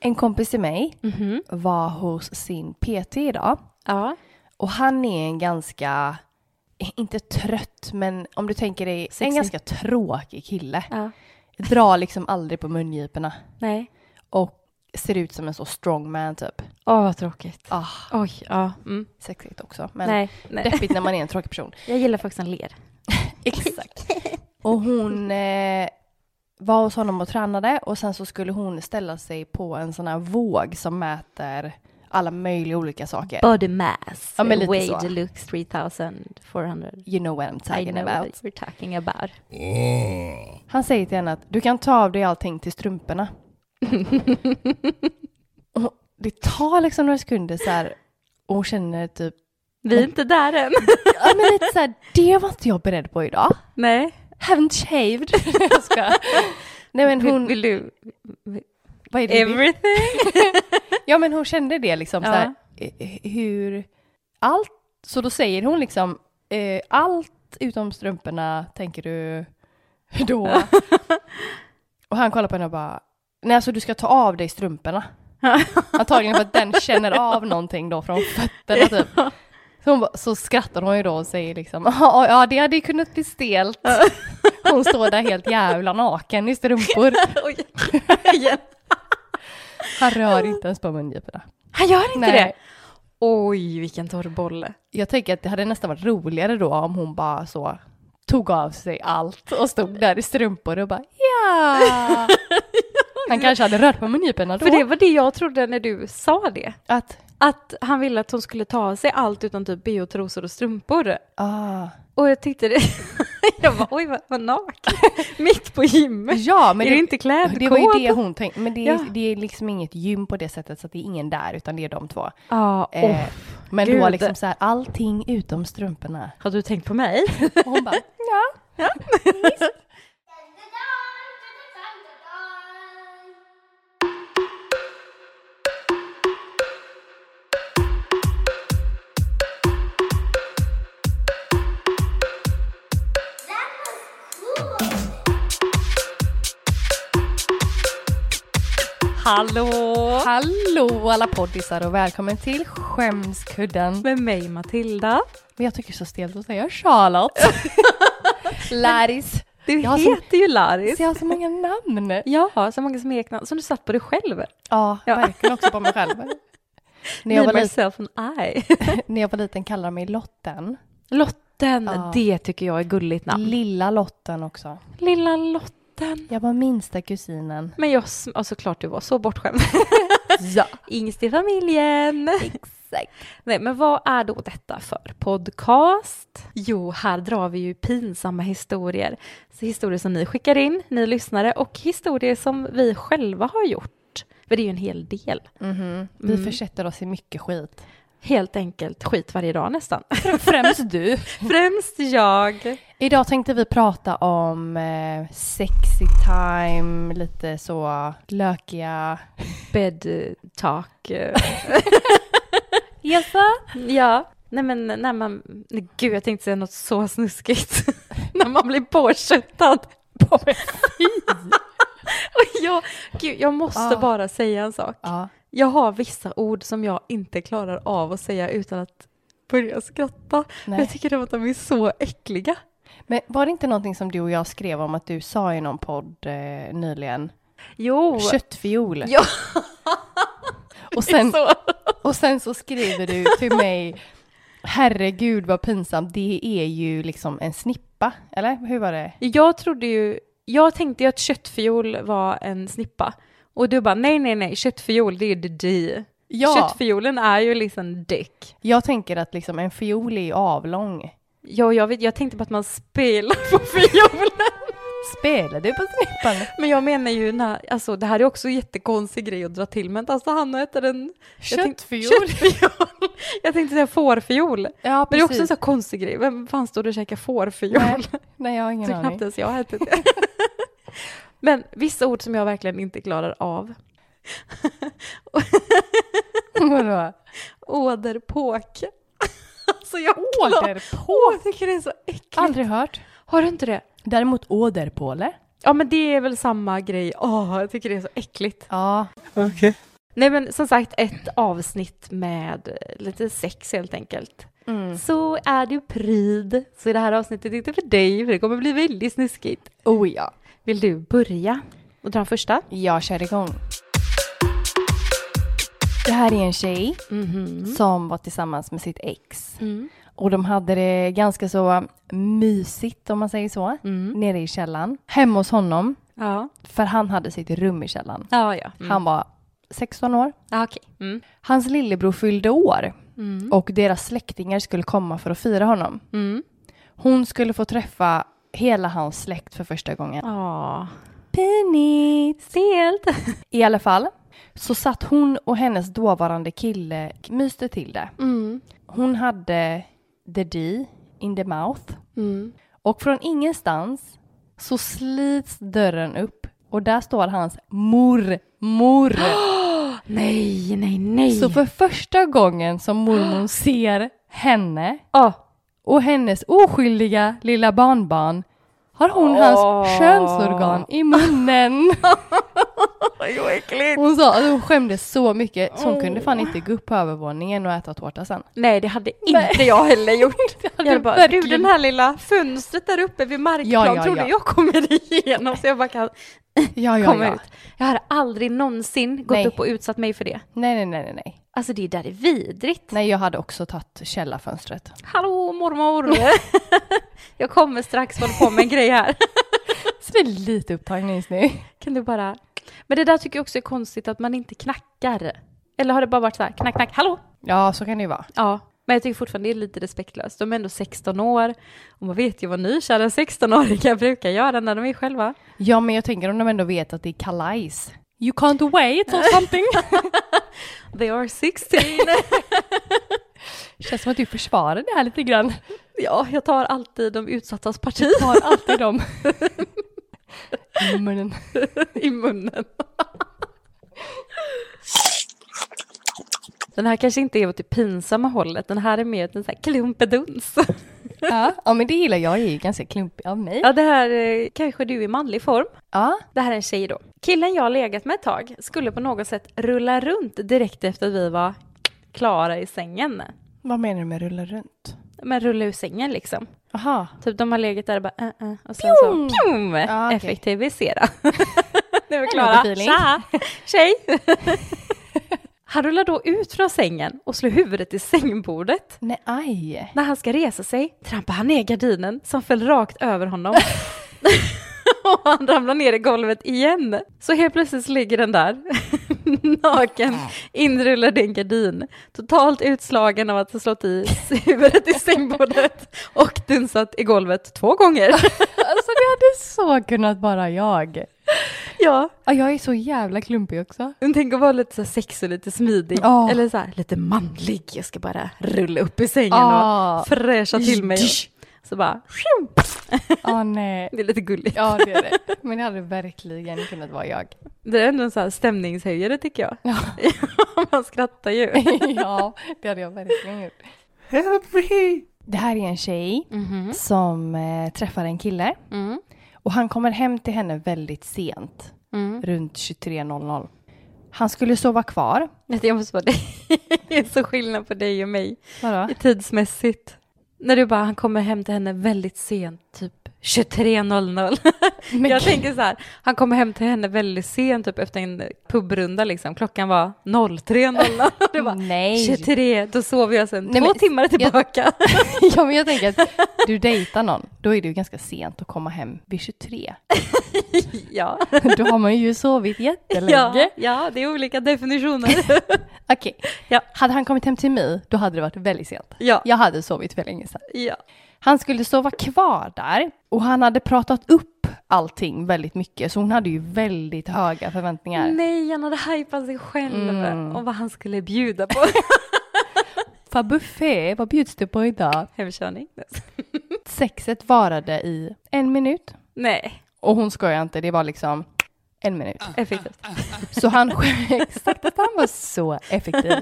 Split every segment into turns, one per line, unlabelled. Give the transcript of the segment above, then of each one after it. En kompis till mig var hos sin PT idag
Mm-hmm. Ja.
och han är en ganska, inte trött, men om du tänker dig en
Sexig.
ganska tråkig kille.
ja.
Drar liksom aldrig på mungiporna
Nej.
och ser ut som en så strongman typ.
Åh, vad tråkigt.
Ah,
Oj, ja. Mm.
sexigt också, men
nej, nej.
deppigt när man är en tråkig person.
Jag gillar folk som ler.
Exakt. Och hon eh, var hos honom och tränade och sen så skulle hon ställa sig på en sån här våg som mäter alla möjliga olika saker.
Body mass.
Ja, men lite
Weight
så.
looks 3400.
You know what I'm
I
talking
know
about.
what we're talking about.
Han säger till henne att du kan ta av dig allting till strumporna. och det tar liksom några sekunder så här och hon känner typ,
Vi är inte där än.
ja men lite så här, det var inte jag beredd på idag.
nej.
Haven't shaved. jag skojar. Nej men
Vill,
hon,
vill du?
vad är det vi-
Everything?
Ja men hon kände det liksom
Ja.
så här, eh, hur, allt, så då säger hon liksom, eh, allt utom strumporna tänker du då? och han kollar på henne och bara, nej alltså du ska ta av dig strumporna. Antagligen för att den känner av någonting då från fötterna typ. Så, hon bara, så skrattar hon ju då och säger liksom, ja ja, det hade ju kunnat bli stelt. Hon står där helt jävla naken i strumpor.
Oj. Igen.
Han rör inte ens på mungiporna.
Han gör inte
Nej.
det? Oj, vilken torr boll.
Jag tänker att det hade nästan varit roligare då om hon bara så tog av sig allt och stod där i strumpor och bara ja. Han kanske hade rört på mungiporna då.
För det var det jag trodde när du sa det.
Att,
Att han ville att hon skulle ta av sig allt utan typ bh, trosor och strumpor.
ah.
Och jag tyckte det. jag bara, oj vad, vad naken. Mitt på gymmet.
Ja, men
är
det,
du inte klädkåt?
det var ju det hon tänkte. Men det är,
Ja.
det är liksom inget gym på det sättet så att det är ingen där utan det är de två.
Ja,
Eh,
åh.
men då
gud.
liksom så här allting utom strumporna.
Har du tänkt på mig?
Och hon bara ja.
Hallå!
Hallå alla poddisar och välkommen till skämskudden.
Med mig Matilda.
Men jag tycker det är så stelt att säga Charlotte. Laris.
Du
Jag har så-
heter ju Laris.
Så jag har så många namn.
Ja, så många smeknamn som du satt på dig själv.
Ja,
Ja.
verkligen också på mig själv. när, jag
Me,
var liten,
myself and I.
när jag var liten kallade de mig Lotten.
Lotten,
Ja. Mm.
det tycker jag är gulligt namn.
Lilla Lotten också.
Lilla Lotten.
Jag var minsta kusinen.
Men jag, sm- ja, såklart du var så bortskämd.
Ja.
Yngst i familjen.
Exakt.
Nej, men vad är då detta för podcast? Jo, här drar vi ju pinsamma historier. Så historier som ni skickar in, ni lyssnare, och historier som vi själva har gjort. För det är ju en hel del.
Mhm. Vi försätter oss i mycket skit.
Helt enkelt skit varje dag nästan.
Främst du.
Främst jag.
Idag tänkte vi prata om eh, sexy time, lite så lökiga...
Bed talk. eh,
Jaså?
ja. Nej men när man, nej, gud jag tänkte säga något så snuskigt. när man blir påköttad. Och jag, gud jag måste
Ah.
bara säga en sak.
Ja.
Jag har vissa ord som jag inte klarar av att säga utan att börja skratta.
Nej.
Jag tycker att de är så äckliga.
Men var det inte någonting som du och jag skrev om att du sa i någon podd eh, nyligen?
Jo,
Köttfiol.
Ja.
och, sen,
så.
och sen så skriver du till mig, herregud vad pinsamt, det är ju liksom en snippa, eller hur var det?
Jag trodde ju, jag tänkte ju att köttfiol var en snippa. Och du bara nej, nej, nej, köttfiol det är the D.
Ja.
Köttfiolen är ju liksom däck.
Jag tänker att liksom en fiol är ju avlång.
Ja, jag, vet, jag tänkte på att man spelar på fiolen.
Spelar du på snippan?
Men jag menar ju, när, alltså det här är också en jättekonstig grej att dra till med. Alltså han heter en... jag tänkte-
Köttfiol.
Köttfiol. Jag tänkte säga fårfiol.
Ja,
Men det är också en sån här konstig grej. Vem fan står och käkar fårfiol?
Nej, nej, jag har ingen
Så knappt
aning.
ens jag har ätit det. Men vissa ord som jag verkligen inte klarar av.
Vadå?
Åderpåke. Alltså jag klarar...
Åderpål?
Jag tycker det är så äckligt.
Aldrig hört.
Har du inte det?
Däremot åderpåle?
Ja men det är väl samma grej. Åh, jag tycker det är så äckligt.
Ja.
Okay.
Nej men som sagt, ett avsnitt med eh, lite sex helt enkelt.
Mm.
Så är du pryd, så är det här avsnittet inte för dig, för det kommer bli väldigt snuskigt.
Oh ja.
Vill du börja och dra den första?
Jag kör igång. Det här är en tjej
Mhm.
som var tillsammans med sitt ex.
Mm.
Och de hade det ganska så mysigt om man säger så.
Mm.
Nere i källaren. Hemma hos honom.
Ja.
För han hade sitt rum i källaren.
Ja, ja. Mm.
Han var 16 år.
Ja, okej. Mm.
Hans lillebror fyllde år
Mm.
och deras släktingar skulle komma för att fira honom.
Mm.
Hon skulle få träffa hela hans släkt för första gången.
Ja.
Pinigt!
Stelt.
I alla fall så satt hon och hennes dåvarande kille myste till det.
Mm.
Hon hade the D in the mouth
Mm.
och från ingenstans så slits dörren upp och där står hans mormor.
Nej, nej, nej.
Så för första gången som mormor ser henne
Ja.
och hennes oskyldiga lilla barnbarn har hon hans
Åh.
könsorgan i munnen.
Oj, vad äckligt.
Hon sa att hon skämdes så mycket så hon kunde fan inte gå upp på övervåningen och äta tårta sen.
Nej, det hade inte jag heller gjort. Jag hade bara, du
verkligen-
den här lilla fönstret där uppe vid markplan
Ja, ja,
trodde
ja.
jag kommer igenom så jag bara kan
Ja, ja,
komma
ja.
ut. Jag hade aldrig någonsin gått
Nej.
upp och utsatt mig för det.
Nej, nej, nej, nej, nej.
Alltså det där är vidrigt.
Nej, jag hade också tagit källarfönstret.
Hallå mormor! jag kommer strax hålla på med en grej här.
Så det är lite upptagning just nu.
Kan du bara... Men det där tycker jag också är konstigt att man inte knackar. Eller har det bara varit så här knack, knack, hallå?
Ja, så kan det ju vara.
Ja, men jag tycker fortfarande det är lite respektlöst. De är ändå 16 år och man vet ju vad nykära 16-åringar brukar göra när de är själva.
Ja, men jag tänker om de ändå vet att det är kalajs. You can't wait or something.
They are 16!
Känns som att du försvarar det här lite grann.
ja, jag tar alltid de utsattas parti
Tar alltid dem. I munnen.
i munnen. Den här kanske inte är åt det pinsamma hållet, den här är mer åt en sån här klumpeduns.
Ja. ja, men det gillar jag. Jag är ju ganska klumpig av mig.
Ja, det här eh, kanske du i manlig form.
Ja.
Det här är en tjej då. Killen jag legat med ett tag skulle på något sätt rulla runt direkt efter att vi var klara i sängen.
Vad menar du med rulla runt?
Men rulla ur sängen liksom.
Aha.
Typ de har legat där och bara uh, uh, och sen
Pjong!
så pjom,
Ja, okej.
effektivisera. nu är vi
Hello,
klara.
the feeling.
Tja! Tjej! han rullar då ut från sängen och slår huvudet i sängbordet.
Nej, aj.
När han ska resa sig trampar han ner gardinen som föll rakt över honom. och han ramlar ner i golvet igen. Så helt plötsligt ligger den där naken inrullad i en gardin. Totalt utslagen av att ha slått i huvudet i sängbordet och dunsat i golvet två gånger.
Alltså det hade så kunnat bara jag.
ja,
Ja, jag är så jävla klumpig också.
men tänk att vara lite så här sexig, lite smidig.
Ja.
Eller så här lite manlig. Jag ska bara rulla upp i sängen
Ja.
och fräscha till mig.
Ish.
Så bara,
Ja, nej.
det är lite gulligt.
Ja, det är det. Men det hade verkligen kunnat vara jag.
Det är ändå en sån här stämningshöjare tycker jag.
Ja.
Man skrattar ju.
ja, det hade jag verkligen gjort. Det här är en tjej som eh, träffar en kille
Mm.
och han kommer hem till henne väldigt sent, runt 23.00. Han skulle sova kvar.
Vet du, Alltså, Jag måste bara, det är så skillnad på dig och mig
Vadå?
tidsmässigt. När du bara, han kommer hem till henne väldigt sent, typ 23.00.
Men
jag
gud.
tänker så här, han kommer hem till henne väldigt sent, typ efter en pubrunda liksom. Klockan var 03.00. Du bara,
Nej.
23, då sover jag sen
Nej,
två
men-
timmar tillbaka.
ja, men jag tänker att du dejtar någon, då är det ju ganska sent att komma hem vid 23.
ja.
Då har man ju sovit jättelänge.
Ja, ja, det är olika definitioner.
Okej.
Ja.
Hade han kommit hem till mig, då hade det varit väldigt sent.
ja,
Jag hade sovit för länge sedan.
ja.
Han skulle sova kvar där och han hade pratat upp allting väldigt mycket så hon hade ju väldigt höga förväntningar.
Nej, han hade hypat sig själv
Mm.
och vad han skulle bjuda på.
För buffé, vad bjuds det på idag?
Hemkörning.
Sexet varade i en minut
Nej,
och hon skojar inte, det var liksom en minut.
effektivt.
Så han skäm- exakt att han var så effektiv.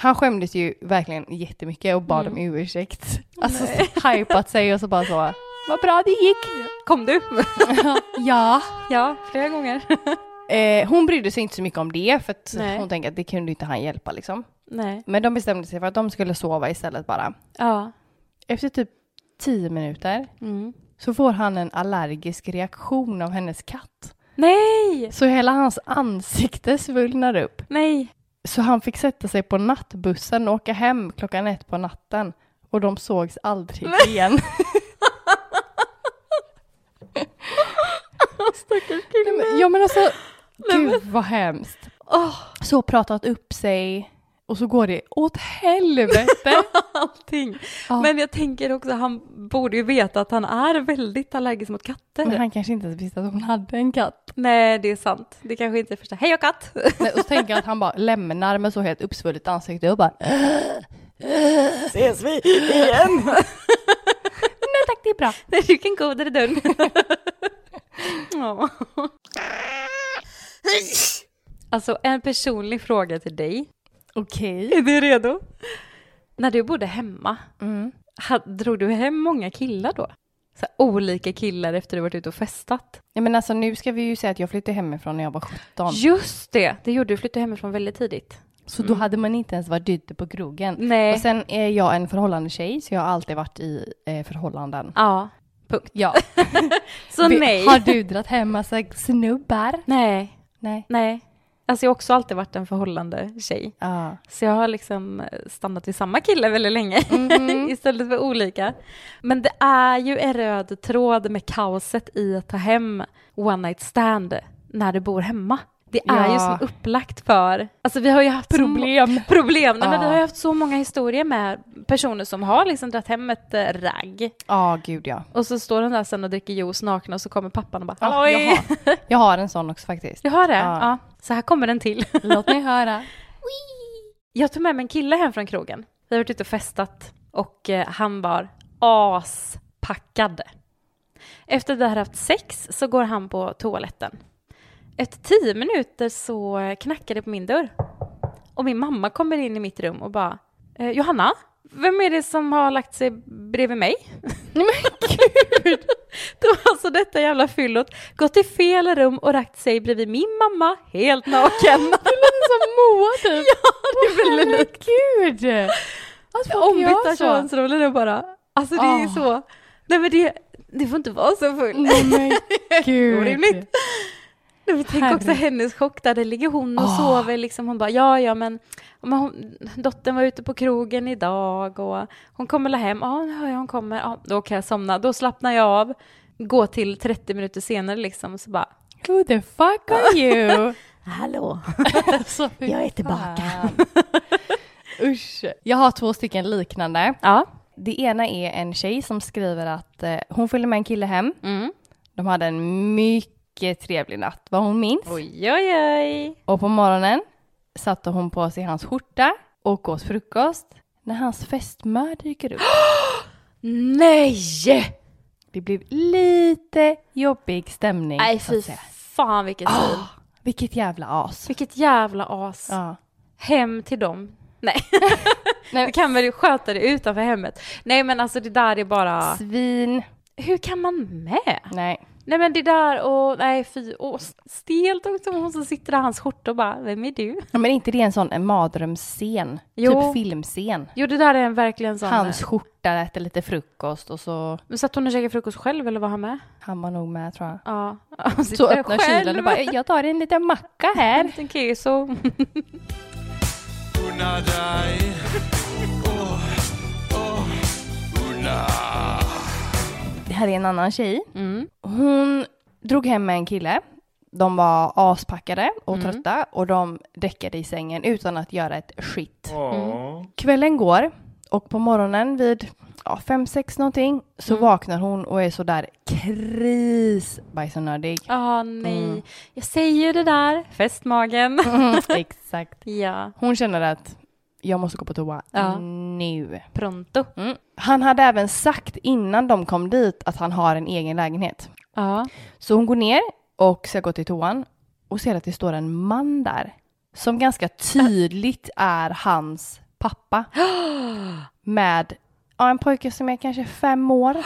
Han skämdes ju verkligen jättemycket och bad om ursäkt. Alltså så hypat sig och så bara så, vad bra det gick.
Kom du?
ja.
ja, flera gånger.
Eh, hon brydde sig inte så mycket om det för att
Nej.
hon tänkte att det kunde inte han hjälpa liksom.
Nej.
Men de bestämde sig för att de skulle sova istället bara.
Ja.
Efter typ tio minuter
Mm.
så får han en allergisk reaktion av hennes katt.
Nej!
Så hela hans ansikte svullnar upp.
Nej!
Så han fick sätta sig på nattbussen och åka hem klockan ett på natten. Och de sågs aldrig igen.
Stackars
Nej,
kille.
men- ja men alltså,
Nej, men-
gud vad hemskt.
Åh,
Så pratat upp sig och så går det åt helvete.
allting.
Ja.
Men jag tänker också, han borde ju veta att han är väldigt allergisk mot katter.
Men han kanske inte ens visste att hon hade en katt.
Nej, det är sant. Det kanske inte är första. Hej och katt!
Nej, och så tänker jag att han bara lämnar med så helt uppsvullet ansikte och bara Nej
Ses vi igen?
tack det är bra.
Nej, du kan gå under i dörren. Ja. Alltså en personlig fråga till dig.
Okej.
Är du redo? När du bodde hemma,
Mm.
ha- drog du hem många killar då? Så här, olika killar efter du varit ute och festat?
Ja, men alltså nu ska vi ju säga att jag flyttade hemifrån när jag var 17.
Just det, det gjorde du. Flyttade hemifrån väldigt tidigt.
Så då hade man inte ens varit ute på krogen.
Nej.
Och sen är jag en förhållande tjej så jag har alltid varit i eh, förhållanden.
Ja.
Ja.
Så
Vi-
nej.
Har du dragit hem massa snubbar?
Nej,
Nej.
nej. Alltså jag har också alltid varit en förhållande tjej.
Ja.
Så jag har liksom stannat vid samma kille väldigt länge
Mhm.
istället för olika. Men det är ju en röd tråd med kaoset i att ta hem one night stand när du bor hemma. Det är ju
Ja.
som upplagt för, alltså vi har ju haft så mo-
Problem.
problem. Nej,
Ja.
men vi har ju haft så många historier med personer som har liksom dragit hem ett eh, ragg
Ja, gud ja.
och så står de där sen och dricker juice nakna och så kommer pappan och bara
Ja,
halloj!
jag, har, jag har en sån också faktiskt.
Du har det?
Ja. Mm.
ja. Så här kommer den till.
Låt mig höra.
Jag tog med mig en kille hem från krogen. Vi har varit ute och festat och eh, han var aspackad. Efter att vi hade haft sex så går han på toaletten. Efter tio minuter så eh, knackar det på min dörr. Och min mamma kommer in i mitt rum och bara eh, Johanna, vem är det som har lagt sig bredvid mig?
Nej men gud!
Då har alltså detta jävla fyllot gått till fel rum och lagt sig bredvid min mamma helt naken.
Det låter som Moa typ.
ja, det är väldigt likt.
gud! Alltså, folk gör
ombytta
så.
könsroller och bara, alltså det är
Ah.
så, nej men det, det får inte vara så full.
Nej men gud.
Orimligt. Nej, men tänk också
Herre.
hennes chock där, där ligger hon och
Ah.
sover liksom, hon bara ja ja men, men hon, dottern var ute på krogen idag och hon kommer la hem, ja nu hör jag hon kommer, ja då kan jag somna, då slappnar jag av, gå till 30 minuter senare liksom så bara,
Who the fuck are you?
hallå,
alltså, fy
Jag är tillbaka.
fan. Usch. Jag har två stycken liknande.
ja,
Det ena är en tjej som skriver att eh, hon följde med en kille hem.
mm.
De hade en mycket trevlig natt, vad hon minns.
oj oj oj,
Och på morgonen satte hon på sig hans skjorta och åt frukost när hans fästmö dyker upp.
nej!
Det blev lite jobbig stämning.
Nej
så att
fy
säga.
fan vilket svin.
Vilket jävla as.
Ah. Vilket jävla as.
Ja.
Hem till dem. Nej.
Nej.
Du kan väl sköta det utanför hemmet. Nej men alltså det där är bara...
Svin.
Hur kan man med?
Nej.
Nej men det där och nej fy. Och stelt också hon som sitter där i hans skjorta och bara, vem är du?
Ja, Men inte det en sån en mardrömsscen?
Jo.
Typ filmscen.
Jo det där är en verkligen sån...
Hans skjorta, äter lite frukost och så
Men satt hon och käkade frukost själv eller var han med?
han var nog med tror jag.
Ja. Hon sitter
Så
där
öppnar kylen och bara, jag tar en liten macka
En
här.
liten keso.
Unna dig. Oh, oh, unna.
Det här är en annan tjej.
Mm.
Hon drog hem en kille. De var aspackade och
Mm.
trötta och de däckade i sängen utan att göra ett skit.
Mm.
Kvällen går och på morgonen vid ja, fem, sex någonting så
Mm.
vaknar hon och är sådär krisbajsnödig.
Ja nej. Mm. Jag säger ju det där. Festmagen.
Exakt.
ja.
Hon känner att jag måste gå på toa
Ja.
nu.
Pronto.
Mm. Han hade även sagt innan de kom dit att han har en egen lägenhet.
Ja.
Så hon går ner och ska gå till toan och ser att det står en man där som ganska tydligt är hans pappa med ja, en pojke som är kanske fem år.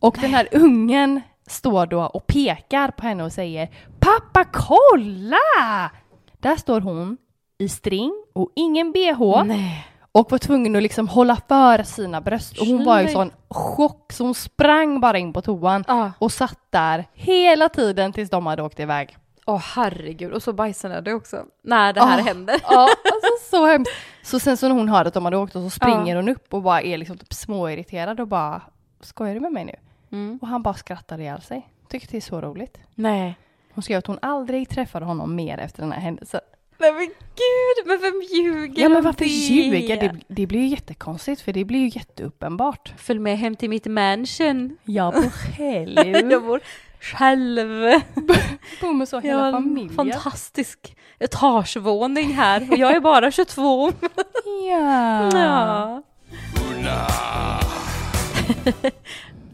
Och den här ungen står då och pekar på henne och säger Pappa kolla! Där står hon i string och ingen bh
Nej.
och var tvungen att liksom hålla för sina bröst och hon var i sån chock så hon sprang bara in på toan
Ja.
och satt där hela tiden tills de hade åkt iväg.
Åh herregud, och så bajsnödig också. När det här
Ah.
händer.
Ja, alltså så hemskt. Så sen så när hon hör att de hade åkt och så springer
Ja.
hon upp och bara är liksom typ småirriterad och bara skojar du med mig nu?
Mm.
Och han bara skrattar ihjäl sig. Tycker det är så roligt.
Nej.
Hon skrev att hon aldrig träffade honom mer efter den här händelsen.
Nej men gud, men vem ljuger
Ja men
om
varför
det?
ljuga? Det, det blir ju jättekonstigt för det blir ju jätteuppenbart.
Följ med hem till mitt mansion.
Ja på
Jag
helvete.
bor själv.
Boom och så
Jag
hela
har en
familjen.
fantastisk etagevåning här och jag är bara 22.
Ja.
Ja.
Una.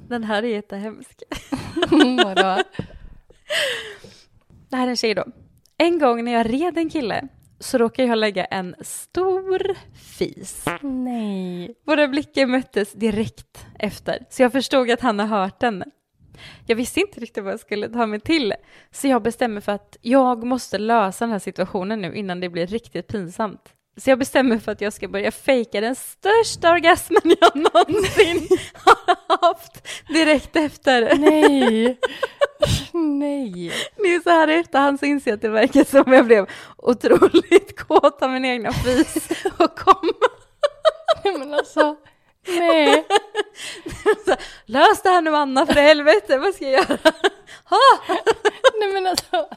Den här är jättehemsk.
Vadå?
Det här är en tjej då. En gång när jag red en kille så råkade jag lägga en stor fis.
Nej.
Våra blickar möttes direkt efter, så jag förstod att han har hört den. Jag visste inte riktigt vad jag skulle ta mig till, så jag bestämmer för att jag måste lösa den här situationen nu innan det blir riktigt pinsamt. Så jag bestämmer för att jag ska börja fejka den största orgasmen jag någonsin har haft direkt efter.
Nej. Nej.
Det är så här i efterhand så inser jag att det verkar som jag blev otroligt kåt av min egna fis och kom
Nej, Men alltså. Nej.
Lös det här nu Anna för i helvete, vad ska jag göra?
Nej men alltså.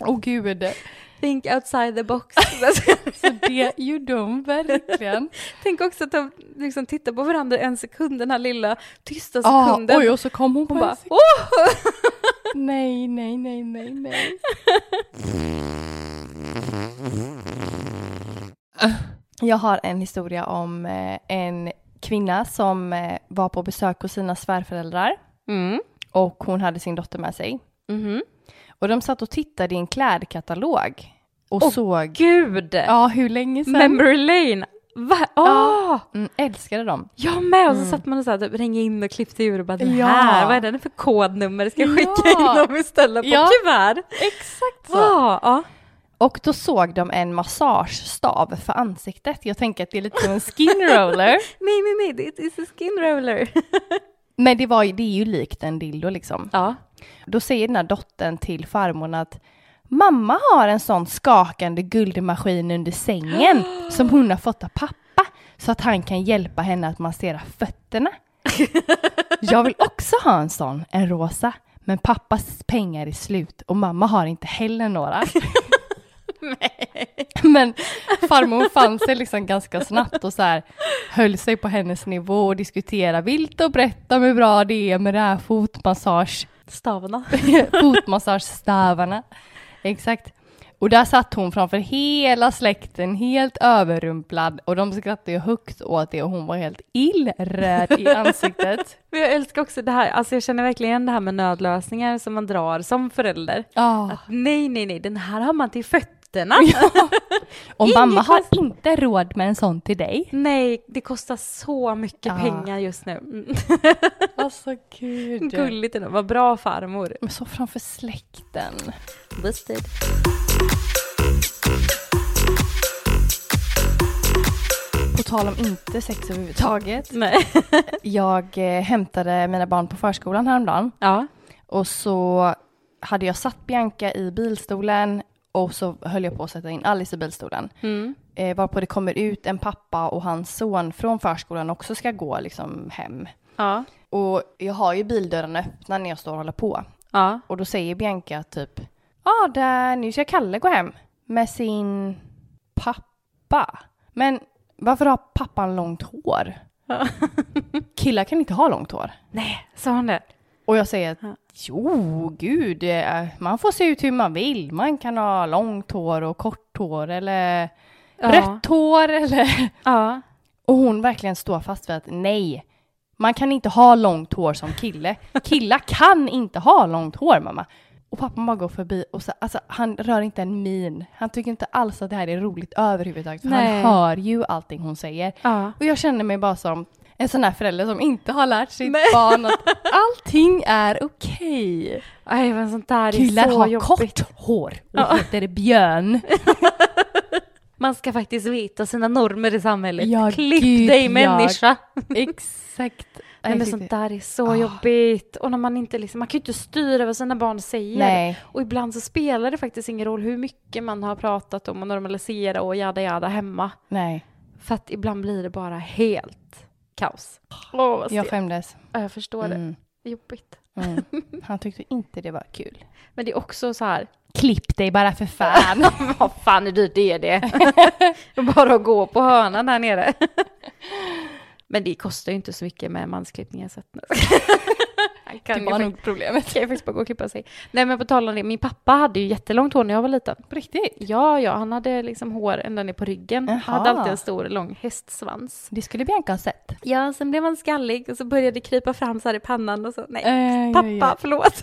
Åh oh, gud.
Think outside the box. Alltså,
Så det gjorde hon verkligen.
Tänk också att de liksom tittar på varandra en sekund, den här lilla tysta
Ah,
sekunden.
oj och så kom hon på
Hon bara,
en sekund.
åh!
Nej, nej, nej, nej, nej. Jag har en historia om eh, en kvinna som eh, var på besök hos sina svärföräldrar
Mm.
och hon hade sin dotter med sig.
Mhm.
Och de satt och tittade i en klädkatalog och
Åh,
såg,
Gud!
ja hur länge sedan?
Memory lane! Va?
Ja.
Ah,
Mm, älskade dem.
Jag med! Och så satt man och så här, typ, ringde in och klippte ur och bara den
Ja.
här, vad är den för kodnummer? Ska jag skicka
Ja.
in dem istället på
Ja.
kuvert?
Exakt
Ah, ah.
Och då såg de en massagestav för ansiktet. Jag tänker att det är lite som en skin roller.
Nej, nej, nej, det är a skin roller.
Men det, var, ju- det är ju likt en dildo liksom.
Ja.
Då säger den här dottern till farmor att mamma har en sån skakande guldmaskin under sängen som hon har fått av pappa så att han kan hjälpa henne att massera fötterna. Jag vill också ha en sån, en rosa. Men pappas pengar är slut och mamma har inte heller några. Men farmor fann sig liksom ganska snabbt och så här höll sig på hennes nivå och diskuterade vilt och brett om hur bra det är med det här fotmassage
Stavarna.
fotmassagestavarna. Exakt. Och där satt hon framför hela släkten, helt överrumplad och de skrattade ju högt åt det och hon var helt illröd i ansiktet.
Men jag älskar också det här, alltså jag känner verkligen igen det här med nödlösningar som man drar som förälder.
Ja.
Nej, nej, nej, den här har man till fötterna.
Och
Inget
mamma har
konstigt.
inte råd med en sån till dig.
nej, det kostar så mycket
Ja.
pengar just nu. Mm.
Alltså gud.
Gulligt ändå, vad bra farmor.
Men så framför släkten.
Busted.
På tal om inte sex överhuvudtaget.
Nej.
Jag eh, hämtade mina barn på förskolan häromdagen.
Ja.
Och så hade jag satt Bianca i bilstolen och så höll jag på att sätta in Alice i bilstolen.
Mm.
Eh, varpå det kommer ut en pappa och hans son från förskolan också ska gå liksom hem.
Ja.
Och jag har ju bildörren öppna när jag står och håller på.
Ja.
Och då säger Bianca typ, ja ah, där, nu ska Kalle gå hem med sin pappa. Men varför har pappan långt hår?
Ja.
Killar kan inte ha långt hår.
Nej, sa hon det?
Och jag säger
Ja.
att jo, gud, eh, man får se ut hur man vill. Man kan ha långt hår och kort hår eller
Ja.
rött hår eller...
Ja.
Och hon verkligen står fast vid att nej, man kan inte ha långt hår som kille. Killar kan inte ha långt hår, mamma. Och pappa bara går förbi och så, alltså, han rör inte en min. Han tycker inte alls att det här är roligt överhuvudtaget. För
Nej.
han hör ju allting hon säger.
Ja.
Och jag känner mig bara som En sån här förälder som inte har lärt sitt
Nej.
barn att allting är okej.
Aj, men sånt där
Killar
är så
har
jobbigt.
kort hår och heter björn.
Man ska faktiskt veta sina normer i samhället.
Ja,
Klipp
gud,
dig
ja.
människa!
Exakt.
Nej, men sånt där är så
Ah.
jobbigt. Och när man inte liksom, man kan ju inte styra vad sina barn säger.
Nej.
Och ibland så spelar det faktiskt ingen roll hur mycket man har pratat om och normalisera och jada jada hemma.
Nej,
För att ibland blir det bara helt kaos. Åh, vad
jag
jag,
skämdes.
jag förstår det.
Mm,
det. är Jobbigt.
mm. Han tyckte inte det var kul.
Men det är också så här,
Klipp dig bara för fan.
vad fan är du det är det? bara att gå på hörnan där nere. Men det kostar ju inte så mycket med mansklippningar. Så att... Han kan
Det
ju
var
faktiskt-
nog problemet.
kan ju faktiskt bara gå och klippa sig. Nej men på tal om det, min pappa hade ju jättelångt hår när jag var liten.
På riktigt?
Ja, ja, han hade liksom hår ända ner på ryggen.
Jaha.
Han hade alltid en stor lång hästsvans.
Det skulle Bianca ha sett.
Ja, sen blev han skallig och så började det krypa fram så här i pannan och så, nej.
Äh,
Pappa, förlåt.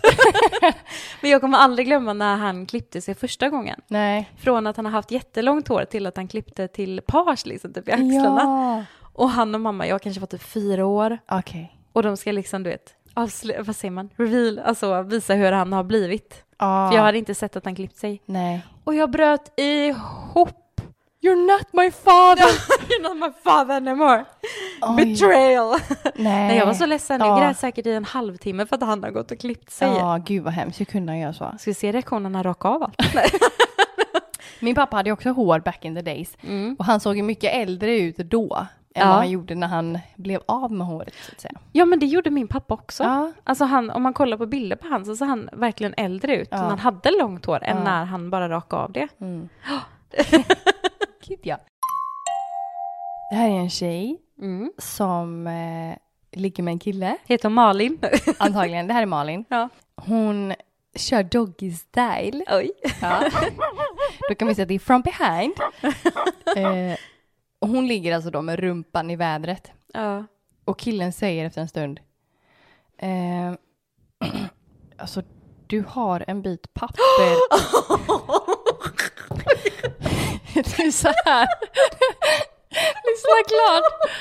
men jag kommer aldrig glömma när han klippte sig första gången.
Nej.
Från att han har haft jättelångt hår till att han klippte till page liksom, typ i axlarna. Och han och mamma, jag kanske var typ fyra år.
Ja. Okej.
Och de ska liksom, du vet, avslöja, vad säger man, reveal, alltså visa hur han har blivit.
Ja.
För jag hade inte sett att han klippt sig.
Nej.
Och jag bröt ihop.
You're not my father!
You're not my father anymore.
Oj.
Betrayal.
Nej.
Nej, jag var så ledsen. Jag
Ja.
grät säkert i en halvtimme för att han har gått och klippt sig.
Ja, gud vad hemskt. Hur kunde han göra så?
Ska vi se reaktionen när han rakade av allt?
Min pappa hade ju också hår back in the days.
Mm.
Och han såg ju mycket äldre ut då än
Ja.
vad han gjorde när han blev av med håret. Så att säga.
Ja, men det gjorde min pappa också.
Ja.
Alltså han, om man kollar på bilder på han så ser han verkligen äldre ut när han hade långt hår än när han bara rakade av det.
Gud ja. Det här är en tjej
Mm.
som eh, ligger med en kille.
Heter hon Malin?
Antagligen. Det här är Malin.
ja.
Hon kör doggy style.
Oj.
Ja. Då kan vi säga att det är from behind. Eh, och hon ligger alltså då med rumpan i vädret.
Ja.
Och killen säger efter en stund. Eh, alltså, du har en bit papper. det är så här. Lyssna klart.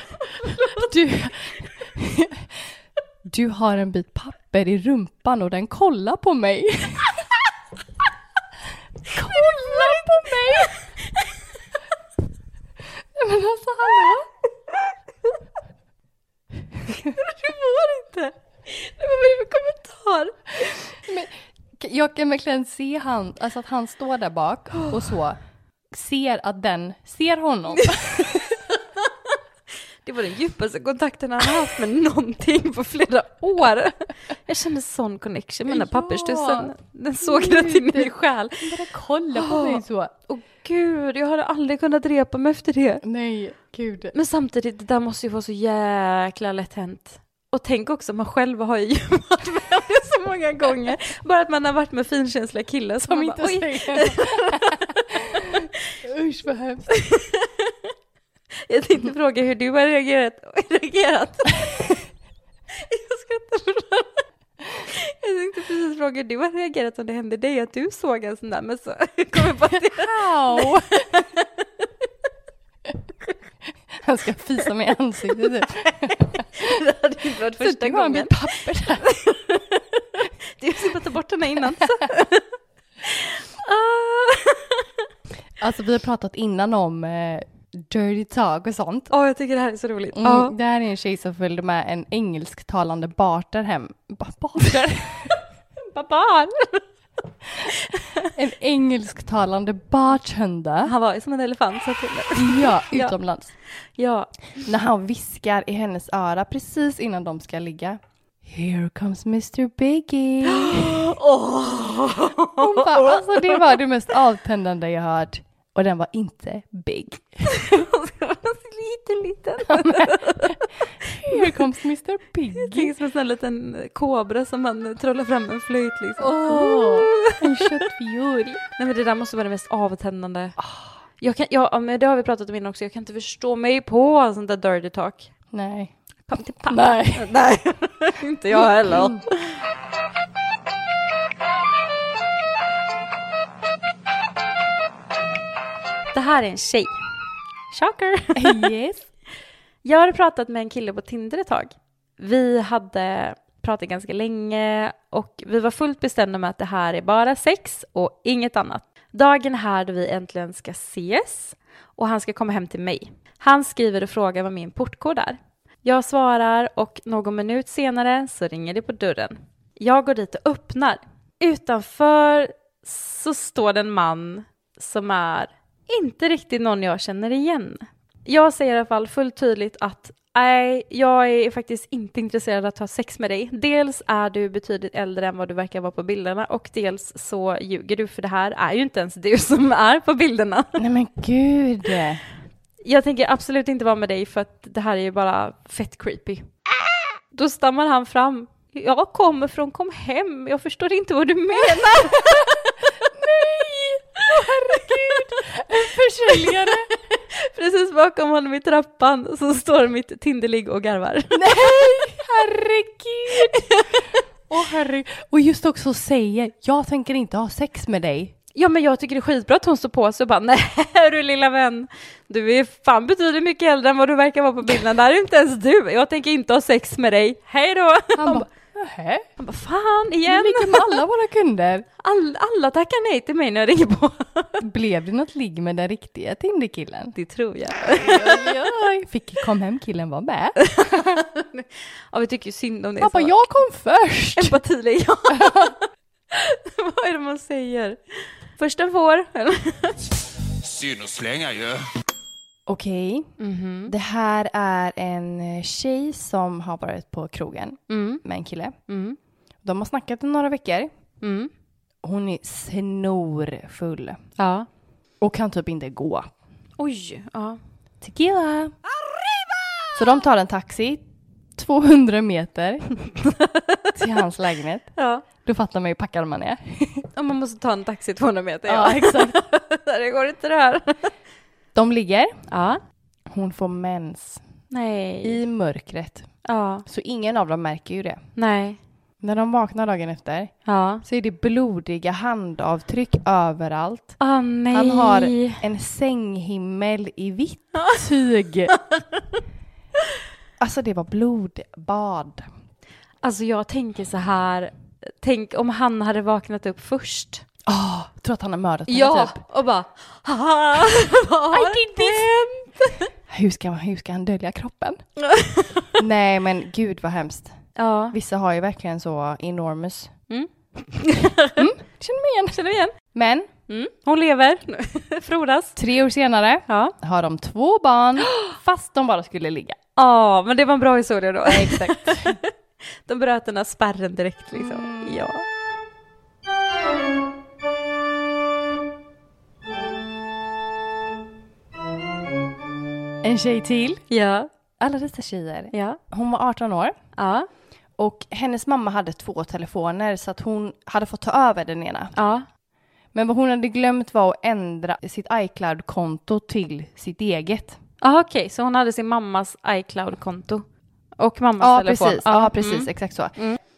Du, du har en bit papper i rumpan och den kollar på mig. Kolla på mig! Nej, Men alltså hallå?
Det var inte. Det var vad är det för kommentar?
Men, jag kan verkligen se han, alltså att han står där bak och så ser att den ser honom.
Det var den djupaste kontakten han har haft med någonting på flera år. Jag kände sån connection med den här
Ja.
papperstussen. Den såg rätt in i min själ.
Den kollar på mig så.
Åh gud, jag hade aldrig kunnat repa mig efter det.
Nej, gud.
Men samtidigt, det där måste ju vara så jäkla lätt hänt. Och tänk också, man själv har ju varit med om det så många gånger. Bara att man har varit med finkänsliga killar som
Som
man
inte
bara, oj,
säger Usch vad hemskt.
jag tänkte fråga hur du har reagerat. reagerat. jag skrattar för det. Jag tänkte precis fråga hur du har reagerat om det hände dig att du såg en sån där, men så kom jag på att det
Wow. Han ska fisa mig i ansiktet typ.
det hade inte varit första
Det var en
gången.
bit papper där.
Du ska bara typ ta bort den här innan. Så. Ah.
Alltså vi har pratat innan om eh, dirty talk och sånt.
Åh, Ah, jag tycker det här är så roligt. Ah.
Mm,
Ja.
Det här är en tjej som följde med en engelsktalande barter hem. Ba- Barter?
Babar!
en engelsktalande bartender.
Han var ju som en elefant. Så att,
Ja,
Ja.
utomlands.
ja.
När han viskar i hennes öra precis innan de ska ligga. Here comes Mr Biggie. Hon bara, alltså det var det mest avtändande jag hört. Och den var inte big.
liten, liten.
Here comes Mr Biggie.
Tänk som en sån här liten kobra som man trollar fram en flöjt liksom. Oh.
Åh, en köttfiol.
Nej men det där måste vara det mest avtändande. Ah. Jag kan, ja, ja, men det har vi pratat om innan också, jag kan inte förstå mig på sånt där dirty talk.
Nej.
Kom till pappa.
Nej.
Nej, inte jag heller. Det här är en tjej. Shocker!
Yes.
Jag hade pratat med en kille på Tinder ett tag. Vi hade pratat ganska länge och vi var fullt bestämda med att det här är bara sex och inget annat. Dagen här då vi äntligen ska ses och han ska komma hem till mig. Han skriver och frågar vad min portkod är. Jag svarar och någon minut senare så ringer det på dörren. Jag går dit och öppnar. Utanför så står det en man som är inte riktigt någon jag känner igen. Jag säger i alla fall fullt tydligt att nej, jag är faktiskt inte intresserad av att ha sex med dig. Dels är du betydligt äldre än vad du verkar vara på bilderna och dels så ljuger du för det här är ju inte ens du som är på bilderna.
Nej men gud.
Jag tänker absolut inte vara med dig för att det här är ju bara fett creepy. Då stammar han fram. Jag kommer från kom hem, jag förstår inte vad du menar.
Försäljare.
Precis bakom honom i trappan så står mitt Tinderligg och garvar.
Nej, herregud. Åh herregud. Och just också säger, jag tänker inte ha sex med dig.
Ja men jag tycker det är skitbra att hon står på sig och bara nej du lilla vän, du är fan betydligt mycket äldre än vad du verkar vara på bilden. Det här är inte ens du, jag tänker inte ha sex med dig, hej då!
Han bara, nähä.
Han bara fan
Vi
igen,
ligger med alla våra kunder.
All, alla tackar nej till mig när jag ringer på.
Blev det något ligg med den riktiga Tinderkillen?
Det tror jag.
Oj, oj. Fick kom hem killen var med.
Ja vi tycker ju synd om det.
Han bara, jag kom först.
Empatilig, ja. Vad är det man säger? Först den får.
Synd att slänga ju.
Okej, det här är en eh, tjej som har varit på krogen
Mm.
med en kille.
Mm.
De har snackat i några veckor.
Mm.
Hon är snorfull
Ja.
och kan typ inte gå.
Oj, ja.
Tequila! Så de tar en taxi 200 meter till hans lägenhet.
ja.
Då fattar man ju hur packad man är.
Ja, man måste ta en taxi 200 meter.
exakt.
det går inte det här.
De ligger.
Ja.
Hon får mens
Nej.
i mörkret.
Ja.
Så ingen av dem märker ju det.
Nej.
När de vaknar dagen efter
Ja.
så är det blodiga handavtryck överallt.
Ah, nej.
Han har en sänghimmel i vitt tyg. Alltså det var blodbad.
Alltså jag tänker så här. Tänk om han hade vaknat upp först.
Ah, tror att han har mördat henne typ.
och bara haha, vad har hänt?
Hur ska, hur ska han dölja kroppen? Nej men gud vad hemskt.
Ja,
Vissa har ju verkligen så enormous.
Mm.
Känner mig igen.
känner vi igen.
Men
Mm. Hon lever, frodas.
tre år senare
Ja.
har de två barn fast de bara skulle ligga.
Ja, men det var en bra historia då.
Exakt.
De bröt den här spärren direkt liksom. Ja.
En tjej till.
Ja.
Alla dessa tjejer.
Ja.
Hon var 18 år.
Ja.
Och hennes mamma hade två telefoner så att hon hade fått ta över den ena.
Ja.
Men vad hon hade glömt var att ändra sitt iCloud-konto till sitt eget.
Ja, okej, så hon hade sin mammas iCloud-konto. Och mammas
Ja,
telefon.
precis. Ja, precis.
Mm.
Exakt så.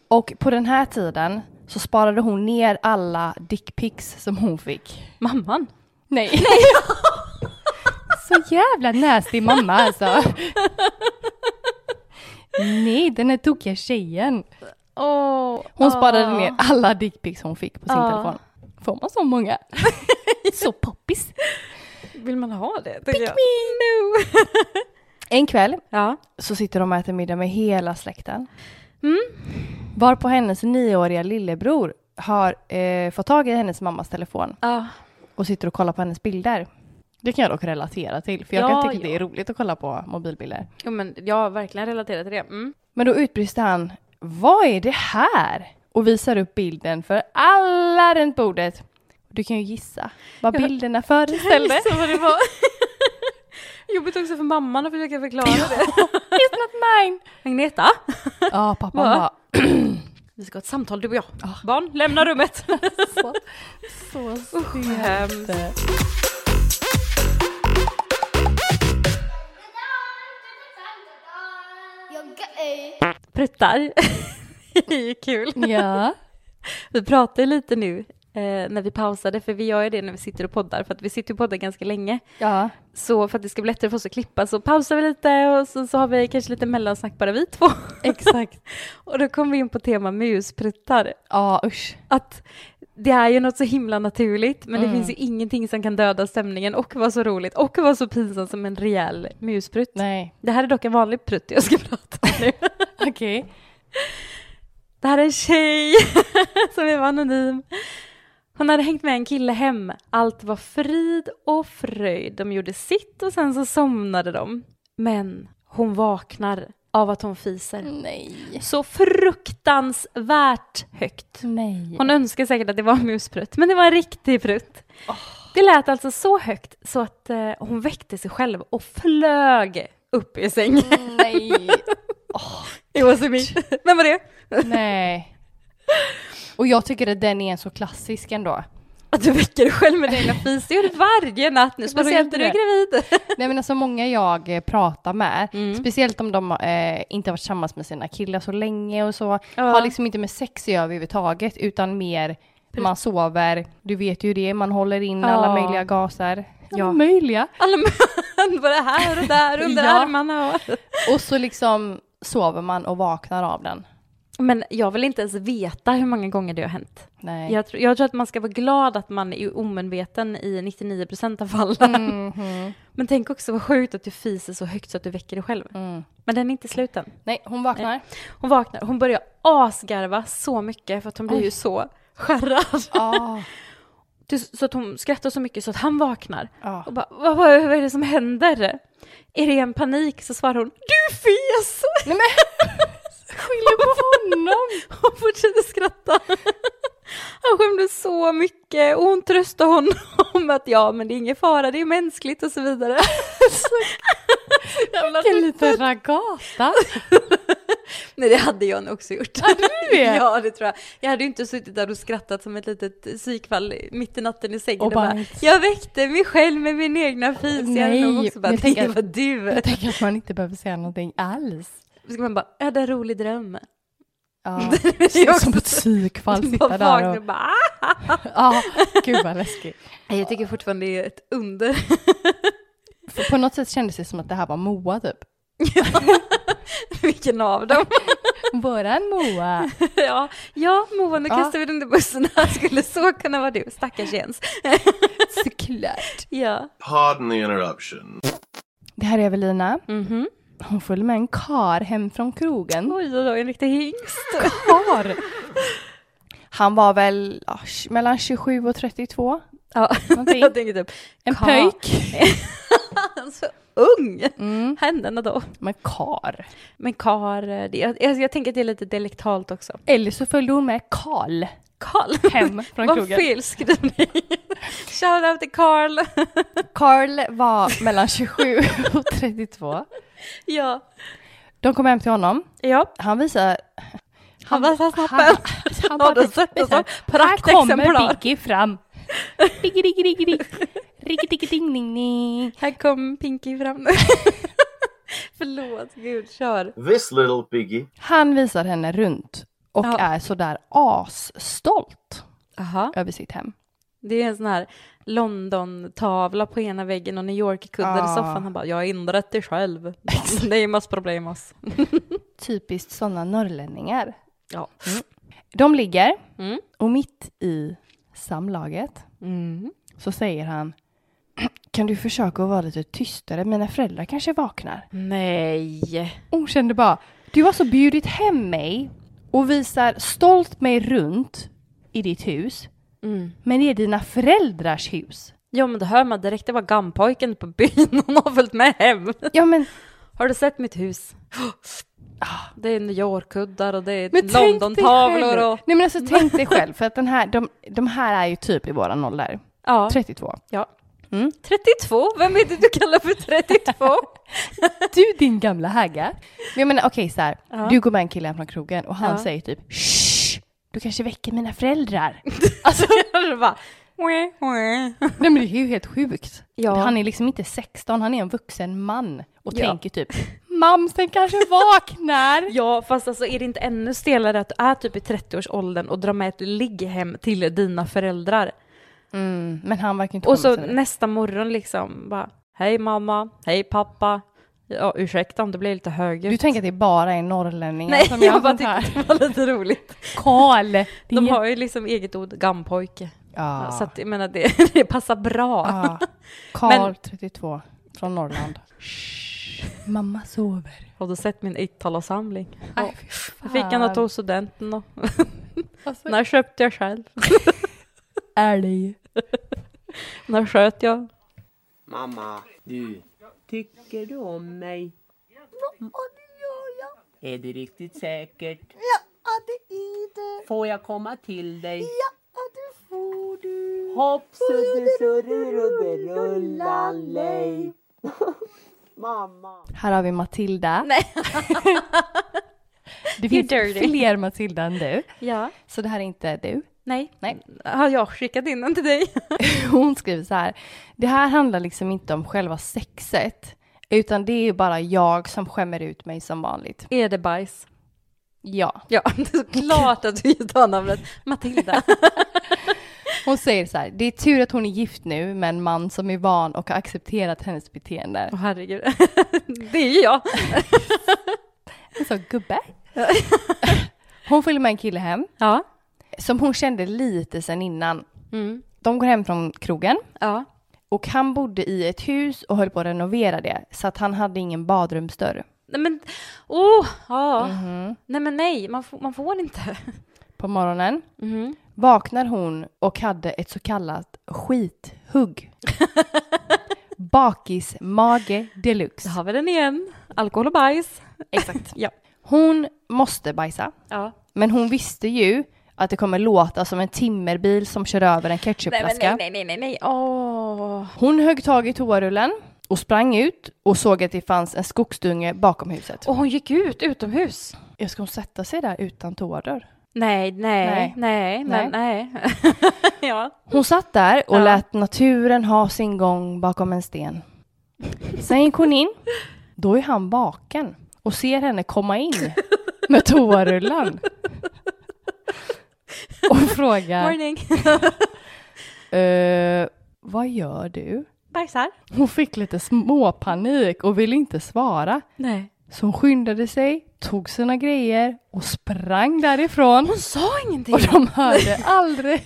Och på den här tiden så sparade hon ner alla dickpics som hon fick.
Mamman?
Nej. så jävla nasty mamma alltså. Nej, den här tokiga tjejen.
Åh.
Hon
ja.
sparade ner alla dickpics hon fick på sin
Ja.
telefon. Får man så många? så poppis.
Vill man ha det? Pick jag. me! No.
En kväll
ja.
så sitter de och äter middag med hela släkten. Varpå hennes nioåriga lillebror har eh, fått tag i hennes mammas telefon
Ja.
och sitter och kollar på hennes bilder. Det kan jag dock relatera till, för jag
Ja,
kan tycka
ja.
det är roligt att kolla på mobilbilder.
Jo, men jag har verkligen relaterat till det. Mm.
Men då utbrister han, vad är det här? Och visar upp bilden för alla runt bordet. Du kan ju gissa vad
Ja.
bilderna föreställde.
Så vad det var. Jobbigt också för mamman att försöka förklara det.
It's not mine!
Agneta,
Ja, pappan
Va?
bara,
vi ska ha ett samtal du och jag. Barn, lämna rummet. ehm,
så, så stelt.
Hemskt. Pruttar. det är ju kul.
Ja.
Vi pratar ju lite nu eh, när vi pausade, för vi gör ju det när vi sitter och poddar, för att vi sitter och poddar ganska länge.
Ja.
Så för att det ska bli lättare för oss att klippa så pausar vi lite och så, så har vi kanske lite mellansnack bara vi två. Exakt. och då kom vi in på tema muspruttar.
Ja, usch.
Att det är ju något så himla naturligt men det
Mm.
finns ju ingenting som kan döda stämningen och vara så roligt och vara så pinsamt som en rejäl musprutt.
Nej.
Det här är dock en vanlig prutt jag ska prata om nu.
Okej.
Det här är en tjej som är anonym. Hon hade hängt med en kille hem. Allt var frid och fröjd. De gjorde sitt och sen så somnade de. Men hon vaknar av att hon
Mm.
fiser.
Nej.
Så fruktansvärt högt.
Nej.
Hon önskar säkert att det var en musprutt, men det var en riktig prutt. Det lät alltså så högt så att eh, hon väckte sig själv och flög upp i sängen.
Nej.
Det var så mycket. Vem var det?
Nej. Och jag tycker att den är så klassisk ändå.
Att du väcker dig själv med dina fis, det gör du varje natt nu,
bara
speciellt när du är gravid.
Nej men alltså många jag eh, pratar med,
Mm.
speciellt om de eh, inte har varit tillsammans med sina killar så länge och så,
Ja.
har liksom inte med sex att göra överhuvudtaget utan mer man sover, du vet ju det, man håller in alla
Ja.
möjliga gaser.
Ja.
Alla möjliga.
Alla män, både här och där, under
Ja.
armarna och...
Och så liksom sover man och vaknar av den.
Men jag vill inte ens veta hur många gånger det har hänt.
Nej.
Jag, tror- jag tror att man ska vara glad att man är omedveten i 99% av fallen.
Mhm.
Men tänk också vad sjukt att du fiser så högt så att du väcker dig själv.
Mm.
Men den är inte sluten.
Nej, hon vaknar.
Hon vaknar, hon börjar asgarva så mycket för att hon blir ju så skärrad.
Ah,
Till- Så att hon skrattar så mycket så att han vaknar.
ah.
Och bara, vad, vad, vad är det som händer? Är det en panik? Så svarar hon, du fes!
Nej men! Skyller på honom!
Hon fortsätter skratta. Han skämdes så mycket och hon tröstade honom att ja, men det är ingen fara, det är mänskligt och så vidare. Jävla
Vilken
tutt.
liten ragata!
Nej, det hade jag nog också gjort.
Hade du det?
Ja, det tror jag. Jag hade ju inte suttit där och skrattat som ett litet psykfall mitt i natten i sängen
Och
och bara,
bara-
jag väckte mig själv med min egna fis. Jag hade
Nej,
nog också bara,
jag tänker
det
att-
var du.
Jag tänker att man inte behöver säga någonting alls.
Då ska man bara, jag hade en rolig dröm.
Ja.
Det är också
Som ett psykfall
bara
sitta
vaknar
där
och
och...
bara, "Ah!"
Ja, gud vad läskigt.
Nej, Jag tycker fortfarande det är ett under.
För på något sätt kändes det som att det här var Moa typ.
Vilken av dem?
Våran Moa.
ja, ja, Moa, nu
Ja.
kastar vi den under bussen. Det här skulle så kunna vara du, stackars Jens.
Såklart.
Ja.
Pardon the interruption.
Det här är Evelina. Hon följer med en kar hem från krogen.
Oj, oj, oj, en riktig hingst.
Kar? Han var väl ja, tj- mellan 27 och 32.
Ja,
Någonting.
jag tänker typ,
En
Kar.
pöjk.
han så ung.
Mm.
Händerna då.
Men kar.
Men kar, det, jag, jag, jag tänker att det är lite deliktalt också.
Eller så följde hon med Karl
Karl.
hem från
Vad
krogen.
fel skrivning. Shout out till Karl.
Karl var mellan 27 och 32.
ja.
De kom hem till honom.
Ja,
Han visar...
han var så snabb.
Han, han
Har
bara
du
visar,
sett det som
här kommer
praktexemplar?
Biggie fram. Diggi, diggi, diggi, digg. Riggi, diggi, ding, ding, ding.
Här kom Pinky fram nu. Förlåt, gud, kör.
This little piggy.
Han visar henne runt och
Ja.
är sådär asstolt
Aha.
över sitt hem.
Det är en sån här London-tavla på ena väggen och New York-kuddar
Ja.
i soffan. Han bara, jag har inrett det själv. Det är massor problem oss.
Typiskt sådana norrlänningar.
Ja.
De ligger
Mm.
och mitt i samlaget
Mm.
så säger han Kan du försöka att vara lite tystare? Mina föräldrar kanske vaknar.
Nej.
Hon kände bara, du har så bjudit hem mig och visar stolt mig runt i ditt hus.
Mm.
Men det är dina föräldrars hus.
Ja men då hör man direkt, det var gammapojken på byn, hon har följt med hem.
Ja men,
Har du sett mitt hus? Det är New York-kuddar och det
Ah. men
är
tänk dig själv.
London-tavlor och...
Nej men alltså tänk dig själv, för att den här, de, de här är ju typ i våran ålder.
Ja,
32.
ja.
Mm.
32, vem är det du kallar för 32?
Du din gamla hagga. Men jag menar okej så här,
Ja.
du går med en kille hem från krogen och han
Ja.
säger typ Shh, du kanske väcker mina föräldrar.
alltså jag bara... "Wah, wah."
Nej men det är ju helt sjukt.
Ja.
Han är liksom inte 16, han är en vuxen man och
Ja.
tänker typ mams, den kanske vaknar.
Ja, fast alltså är det inte ännu stelare att du är typ i 30-årsåldern och drar med ett ligghem till dina föräldrar?
Mm, men han verkar inte
Och så
skämmas ännu.
nästa morgon liksom bara, hej mamma, hej pappa, ja ursäkta om det blir lite högljutt.
Du tänker att det bara är norrlänningar
Nej,
som gör
jag bara
sånt här?
tyckte det var lite roligt.
Karl! det är
De
jätte-
har ju liksom eget ord, gammapojke.
ja.
Så att jag menar det, det passar bra.
ja. Karl, 32, från Norrland. Mamma sover.
Har du sett min uttalarsamling?
Nej,
Jag fick han och tog studenten och
Alltså,
den här köpte jag själv.
älg.
Den här sköt jag.
Mamma, du, tycker du om mig? Ja, det gör jag. Är du riktigt säker? Ja, det är det. Får jag komma till dig? Ja, det får du. Hopp, sudde, surre, rubbe, rulla, lej. Mamma.
Här har vi Matilda.
Nej.
det finns
You're dirty.
fler Matilda än du.
Ja.
Så det här är inte du.
Nej.
Nej.
Har jag skickat in den till dig?
Hon skriver så här. Det här handlar liksom inte om själva sexet. Utan det är ju bara jag som skämmer ut mig som vanligt.
Är det bajs?
Ja.
Ja, det är såklart att du tar namnet Matilda.
Hon säger så här. Det är tur att hon är gift nu med en man som är van och har accepterat hennes beteende.
Åh herregud. Det är ju jag.
Jag sa gubbe. Hon följer med en kille hem.
Ja.
Som hon kände lite sen innan.
Mm.
De går hem från krogen.
Ja.
Och han bodde i ett hus och höll på att renovera det. Så att han hade ingen badrumsdörr.
Nej men, oh, ja. Nej men nej, man, får- man får inte.
På morgonen
Mhm.
vaknar hon och hade ett så kallat skithugg. Bakismage
Där
deluxe.
har vi den igen. Alkohol och bajs.
Exakt.
Ja.
Hon måste bajsa.
ja.
Men hon visste ju att det kommer låta som en timmerbil som kör över en
Nej, men
ketchupflaska.
nej, nej, nej, nej, nej. Åh.
Hon högg tag i toarullen och sprang ut och såg att det fanns en skogsdunge bakom huset.
Och hon gick ut utomhus.
Jag ska hon sätta sig där utan toadörr?
Nej, nej,
Nej.
nej, men nej. ja.
Hon satt där och
Ja.
lät naturen ha sin gång bakom en sten. Sen gick hon in. Då är han vaken och ser henne komma in med toarullen. Och frågar,
Morning.
eh, vad gör du?
Bajsar.
Hon fick lite småpanik och ville inte svara.
Nej.
Så hon skyndade sig, tog sina grejer och sprang därifrån.
Hon sa ingenting.
Och de hörde aldrig.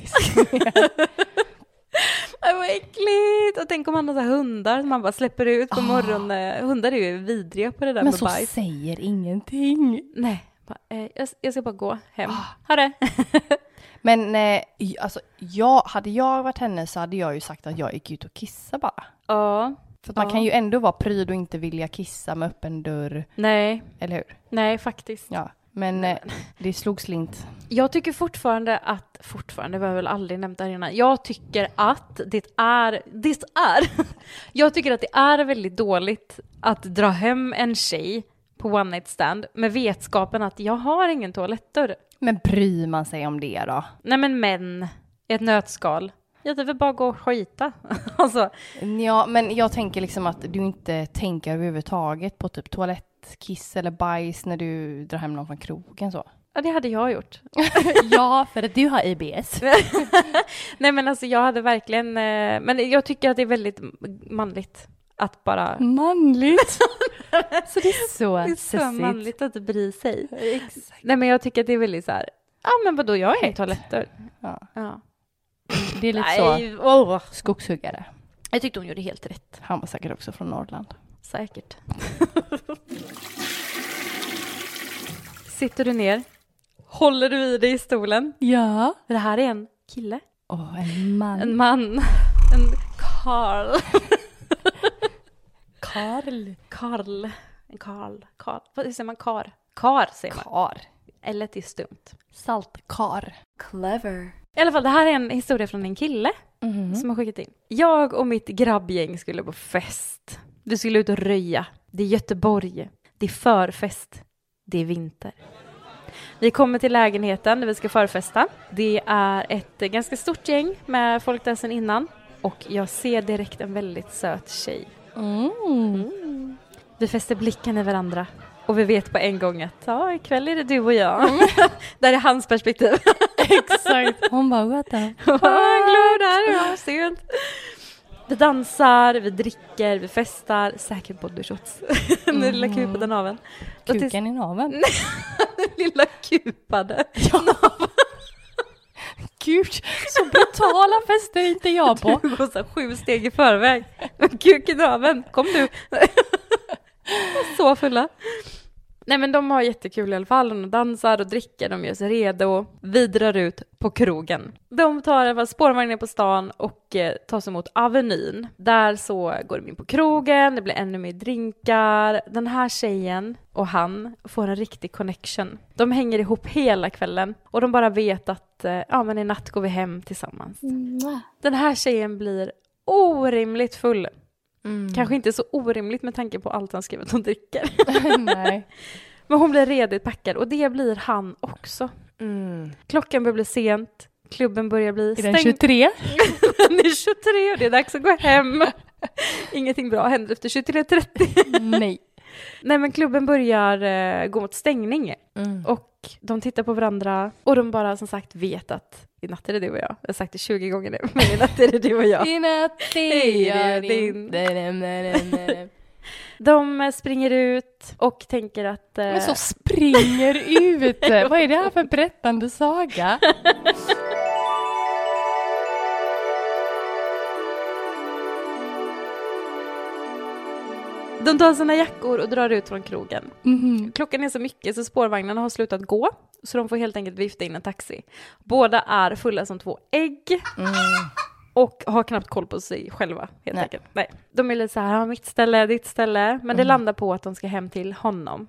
Ay, vad äckligt! Och tänk om man har så här hundar som man bara släpper ut på morgonen. Hundar är ju vidriga på det där
Men
med
så
bajs.
säger ingenting.
Nej, Ah. bara, eh, jag, jag ska bara gå hem. Ha det!
Men eh, j- alltså, jag, hade jag varit henne så hade jag ju sagt att jag gick ut och kissade bara.
ja,
För att man
Ja.
kan ju ändå vara pryd och inte vilja kissa med öppen dörr,
nej,
eller hur?
nej faktiskt.
Ja. Men eh, det slog slint.
Jag tycker fortfarande att, fortfarande, vi har väl aldrig nämnt det här innan, jag tycker att det är, det är, jag tycker att det är väldigt dåligt att dra hem en tjej på one night stand med vetskapen att jag har ingen toalettdörr.
Men bryr man sig om det då?
Nej men män, i ett nötskal. Jag vill bara gå och skita. alltså,
Ja, men jag tänker liksom att du inte tänker överhuvudtaget på typ toalettkiss eller bajs när du drar hem någon från krogen så.
ja, det hade jag gjort.
ja, för att du har IBS.
Nej men alltså jag hade verkligen, eh, men jag tycker att det är väldigt manligt att bara
Manligt. så det är så,
Det är så
sessigt.
manligt att bry sig. Nej men jag tycker att det är väldigt så här, ja men vadå jag är i toaletter.
Ja.
Ja.
Det är lite så.
Nej, åh.
Skogshuggare.
Jag tyckte hon gjorde helt rätt.
Han var säkert också från Norrland.
Säkert. Sitter du ner? Håller du i dig i stolen?
Ja.
För det här är en kille.
Åh, en man.
En man. En Karl.
karl.
Karl. En Karl. Karl. Vad säger man? Kar. Kar säger man.
Kar.
Eller det är stumt.
Saltkar.
I alla fall, det här är en historia från en kille som har skickat in. Jag och mitt grabbgäng skulle på fest. Vi skulle ut och röja. Det är Göteborg. Det är förfest. Det är vinter. Vi kommer till lägenheten där vi ska förfesta. Det är ett eh, ganska stort gäng med folk där sedan innan. Och jag ser direkt en väldigt söt tjej. Mm. Vi fäster blicken i varandra och vi vet på en gång att ja, ikväll är det du och jag. Där är hans perspektiv.
Exakt. Hon bara what the
Vad glad där var sent. Vi dansar, vi dricker, vi festar, säkert bodyshots. Den lilla kupade naveln. Och till-
Kuken i naveln.
Den lilla kupade.
Gud, så brutala fester är inte jag på.
Du går så här sju steg i förväg. Kuk i naveln, kom du. så fulla. Nej men de har jättekul i alla fall, de dansar och dricker, de gör sig redo. Vi drar ut på krogen. De tar i alla fall spårvagnen på stan och eh, tas emot Avenyn. Där så går de in på krogen, det blir ännu mer drinkar. Den här tjejen och han får en riktig connection. De hänger ihop hela kvällen och de bara vet att eh, ja men i natt går vi hem tillsammans. Den här tjejen blir orimligt full.
Mm.
Kanske inte så orimligt med tanke på allt han skrev att hon dricker.
Nej.
Men hon blir redigt packad och det blir han också.
Mm.
Klockan börjar bli sent, klubben börjar bli
Är den 23?
Den är 23 och det är dags att gå hem. Ingenting bra händer efter 23.30.
Nej.
Nej men klubben börjar eh, gå mot stängning
Mm.
och de tittar på varandra och de bara som sagt vet att i natt är det du och jag. Jag har sagt det 20 gånger nu, men i natt är det du och jag.
I natt
Hej,
är jag
din.
din. Men
De eh, springer ut och tänker att... eh,
så springer ut. Vad är det här för berättande saga?
de tar sina jackor och drar ut från krogen.
Mhm.
Klockan är så mycket så spårvagnarna har slutat gå, så de får helt enkelt vifta in en taxi. Båda är fulla som två ägg och har knappt koll på sig själva helt
Mm. Nej.
enkelt. Nej. De är lite så här, "Ah, mitt ställe, ditt ställe, men
Mm.
det landar på att de ska hem till honom.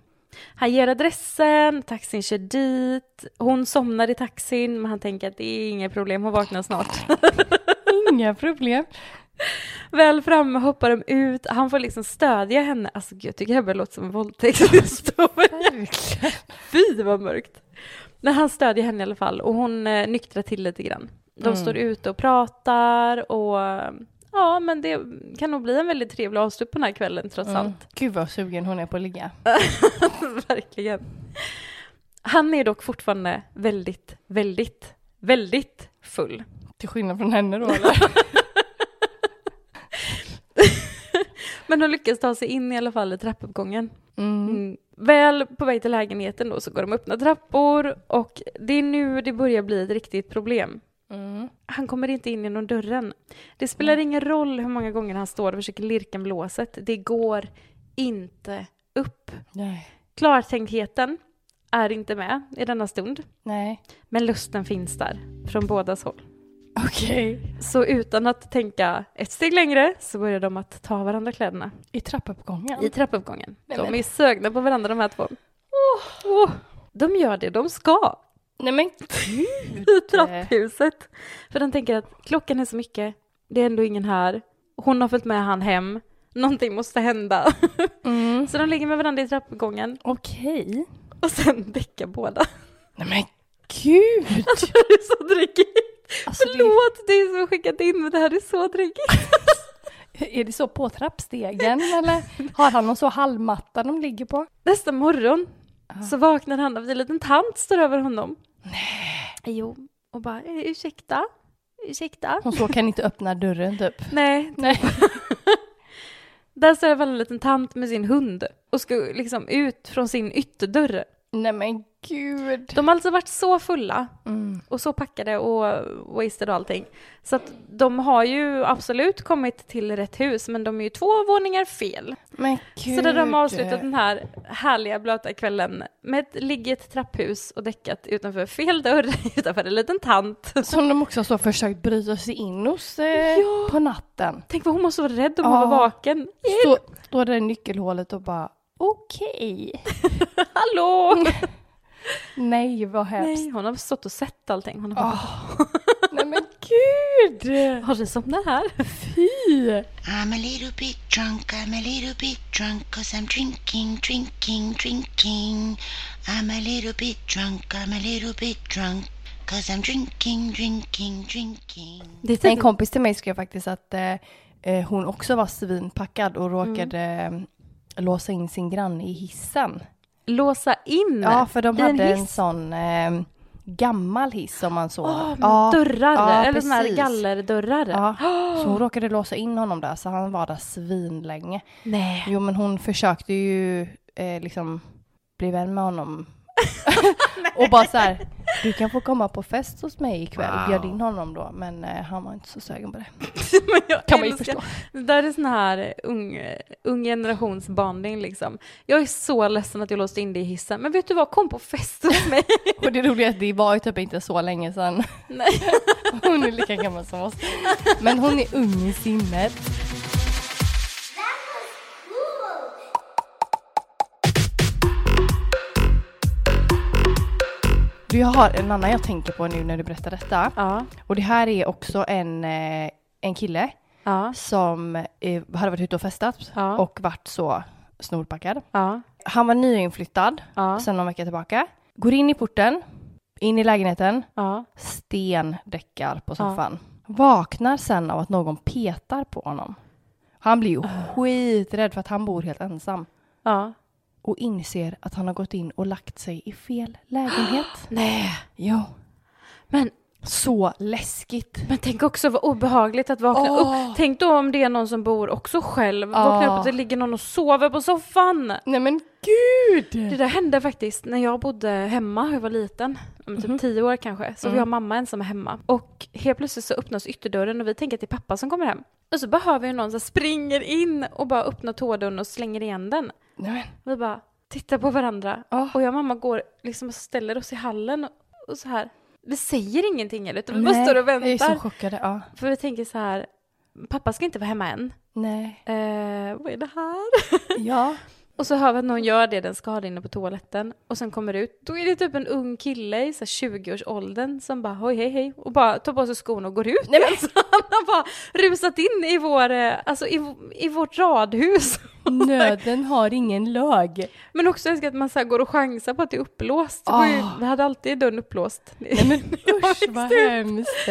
Han ger adressen, taxin kör dit, hon somnar i taxin, men han tänker att det är inga problem, hon vaknar snart.
Inga problem.
Väl framme hoppar de ut, han får liksom stödja henne. Alltså gud, jag tycker det här börjar låta som en våldtäkt. Det står- Fy vad mörkt. Men han stödjer henne i alla fall och hon eh, nyktrar till lite grann. De står ute och pratar och eh, ja, men det kan nog bli en väldigt trevlig avslut på den här kvällen trots allt.
Gud vad sugen hon är på att ligga.
Verkligen. Han är dock fortfarande väldigt, väldigt, väldigt full.
Till skillnad från henne då eller?
Men de lyckas ta sig in i alla fall i trappuppgången.
Mm.
Mm. Väl på väg till lägenheten då så går de öppna trappor och det är nu det börjar bli ett riktigt problem.
Mm.
Han kommer inte in genom dörren. Det spelar ingen roll hur många gånger han står och försöker lirka med låset. Det går inte upp.
Nej.
Klartänktheten är inte med i denna stund,
Nej.
men lusten finns där från bådas håll.
Okej.
Så utan att tänka ett steg längre så börjar de att ta av varandra kläderna
I trappuppgången?
i trappuppgången.
Nej,
de
men-
är sögna på varandra de här två. Åh, De gör det de ska
Nej men
i trapphuset. För de tänker att klockan är så mycket, det är ändå ingen här. Hon har följt med han hem, någonting måste hända.
Mm.
Så de ligger med varandra i trappuppgången
Okej.
och sen däckar båda.
Nej men gud!
Alltså det här är så dräggigt.
Alltså, det-
Förlåt, det är som skickat in men det här är så dräggigt.
Är det så på trappstegen eller? Har han någon så halmmatta de ligger på?
Nästa morgon så vaknar han av att en liten tant står över honom. Nej. Jo, och bara "Eh, ursäkta, ursäkta.
Hon så kan inte öppna dörren typ.
Nej,
Nej.
Där står i alla fall en liten tant med sin hund och ska liksom ut från sin ytterdörr.
Nej men gud.
De har alltså varit så fulla
Mm.
och så packade och wasted och allting. Så att de har ju absolut kommit till rätt hus men de är ju två våningar fel.
Men gud.
Så där de har avslutat den här härliga blöta kvällen med ett ligget trapphus och däckat utanför fel dörr utanför en liten tant.
Som de också så försökt bryta sig in hos eh,
Ja.
på natten.
Tänk vad hon måste vara rädd om hon
Ja.
var vaken.
Stå, står där i nyckelhålet och bara okej.
Hallå!
Nej vad hemskt.
Nej, hon har stått och sett allting. Hon har bara,
Åh. Nej men gud!
har du somnat här?
I'm a little bit drunk, I'm a little bit drunk, cause I'm drinking, drinking, drinking. I'm a little bit drunk, I'm a little bit drunk, cause I'm drinking, drinking, drinking.
Det är
En Mm. kompis till mig skrev faktiskt att eh, eh, hon också var svinpackad och råkade låsa in sin granne i hissen.
Låsa in
Ja, för de
i
hade en,
hiss.
sån eh, gammal hiss som man såg.
Åh, med
ja,
dörrar,
ja,
eller såna här
precis.
gallerdörrar.
Ja, så hon råkade låsa in honom där så han var där svinlänge.
Nej.
Jo men hon försökte ju eh, liksom bli vän med honom. och bara så här, du kan få komma på fest hos mig ikväll, bjöd in honom då. Men eh, han var inte så sugen på det.
Men jag
Kan man ju
älskar-
förstå.
Det där är sån här ung, ung generations bonding liksom. Jag är så ledsen att jag låste in dig i hissen, men vet du vad, kom på fest hos mig.
Och det roliga är att det var ju typ inte så länge sedan.
Nej.
Hon är lika gammal som oss. Men hon är ung i sinnet. Du, jag har en annan jag tänker på nu när du berättar detta.
Ja,
Och det här är också en, eh, en kille
ja,
som eh, hade varit ute och festat
Ja.
och varit så snorpackad.
ja,
Han var nyinflyttad
Ja.
sen någon vecka tillbaka. Går in i porten, in i lägenheten,
ja.
stendäckar på soffan. Vaknar sen av att någon petar på honom. Han blir ju skiträdd för att han bor helt ensam
Ah. ja.
och inser att han har gått in och lagt sig i fel lägenhet.
Nej,
jo,
men,
så läskigt.
men tänk också vad obehagligt att vakna
Åh.
upp. Tänk då om det är någon som bor också själv. Vakna upp
Ja.
och det ligger någon och sover på soffan.
Nej men gud!
Det där hände faktiskt när jag bodde hemma, jag var liten, om
Mhm.
typ tio år kanske, så var jag och mamma ensam hemma. Och helt plötsligt så öppnas ytterdörren och vi tänker att det är pappa som kommer hem. Och så behöver ju någon som springer in och bara öppnar tådörren och slänger igen den.
Nej, men.
Vi bara tittar på varandra
Ja.
och jag och mamma går liksom och ställer oss i hallen och, och så här. Vi säger ingenting eller utan vi bara
Nej,
står och
Vi är så
väntar.
chockade. Ja.
För vi tänker så här, pappa ska inte vara hemma än.
Nej.
Eh, vad är det här?
Ja.
Och så hör vi att någon gör det den ska ha det inne på toaletten och sen kommer det ut. Då är det typ en ung kille i så här 20-årsåldern som bara hoj hej hej och bara tar på sig skorna och går ut. Nej, men... han har bara rusat in i, vår, eh, alltså, i, i vårt radhus.
Nöden har ingen lag.
Men också älskar att man så här går och chansar på att det är upplåst. Det var ju-
Ah.
Vi hade alltid dörren upplåst.
Nej men usch
växte
vad
upp.
hemskt.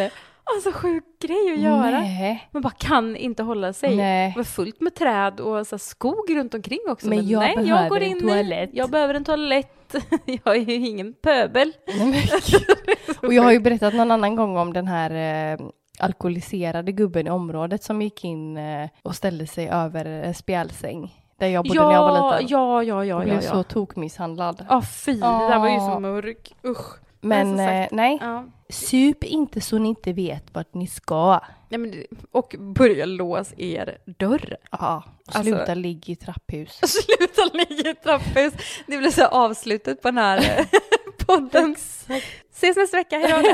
Alltså sjuk grej att göra.
Nej.
Man bara kan inte hålla sig.
Nej.
Det var fullt med träd och så här skog runt omkring också.
Men jag
nej,
behöver
jag går
en
in i-
toalett.
Jag behöver en toalett. Jag är ju ingen pöbel.
Nej, men gud. och jag har ju berättat någon annan gång om den här eh, alkoholiserade gubben i området som gick in eh, och ställde sig över en spjälsäng där jag bodde när jag var
Ja,
liten.
ja, ja, ja,
och
ja.
blev
Ja,
så tokmisshandlad.
ah, fy, det där var ju så
Ah.
mörk. Usch. men
men
som sagt,
eh, nej,
Ja.
sup inte så ni inte vet vart ni ska.
Nej, men, det- och börja lås er dörr.
Ja, och
Alltså-
sluta ligga i trapphus.
Sluta ligga i trapphus. Det blir så avslutet på den här eh, podden. Ses nästa vecka, hejdå.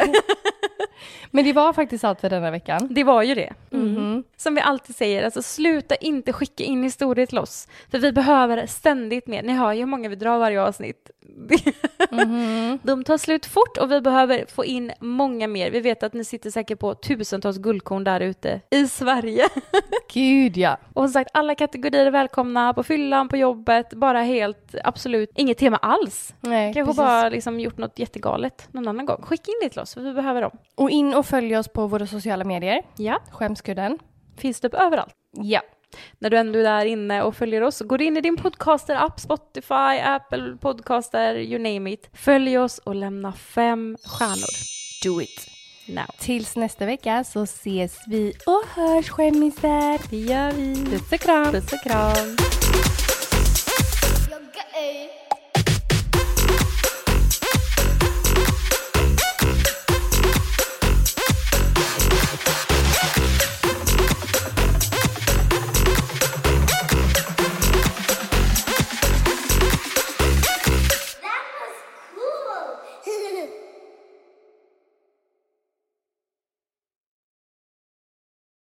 Men det var faktiskt allt för denna veckan.
Det var ju det.
Mhm.
Som vi alltid säger, alltså sluta inte skicka in historier till oss. För vi behöver ständigt mer. Ni hör ju hur många vi drar varje avsnitt.
Mm-hmm.
De tar slut fort och vi behöver få in många mer. Vi vet att ni sitter säkert på tusentals guldkorn där ute i Sverige.
Gud ja.
Och som sagt, alla kategorier är välkomna på fyllan, på jobbet, bara helt absolut inget tema alls.
Nej,
Kanske
precis.
bara liksom gjort något jättegalet någon annan gång. Skicka in det till oss, för vi behöver dem.
Och in och följ oss på våra sociala medier.
Ja,
Skämskudden.
finns typ överallt.
Ja.
när du ändå är där inne och följer oss, gå in i din podcaster-app, Spotify, Apple Podcaster, you name it. Följ oss och lämna fem stjärnor.
Do it.
Now.
Tills nästa vecka så ses vi och hörs skämmisar.
Det gör vi.
Puss och kram.
Puss och kram.
You're gay.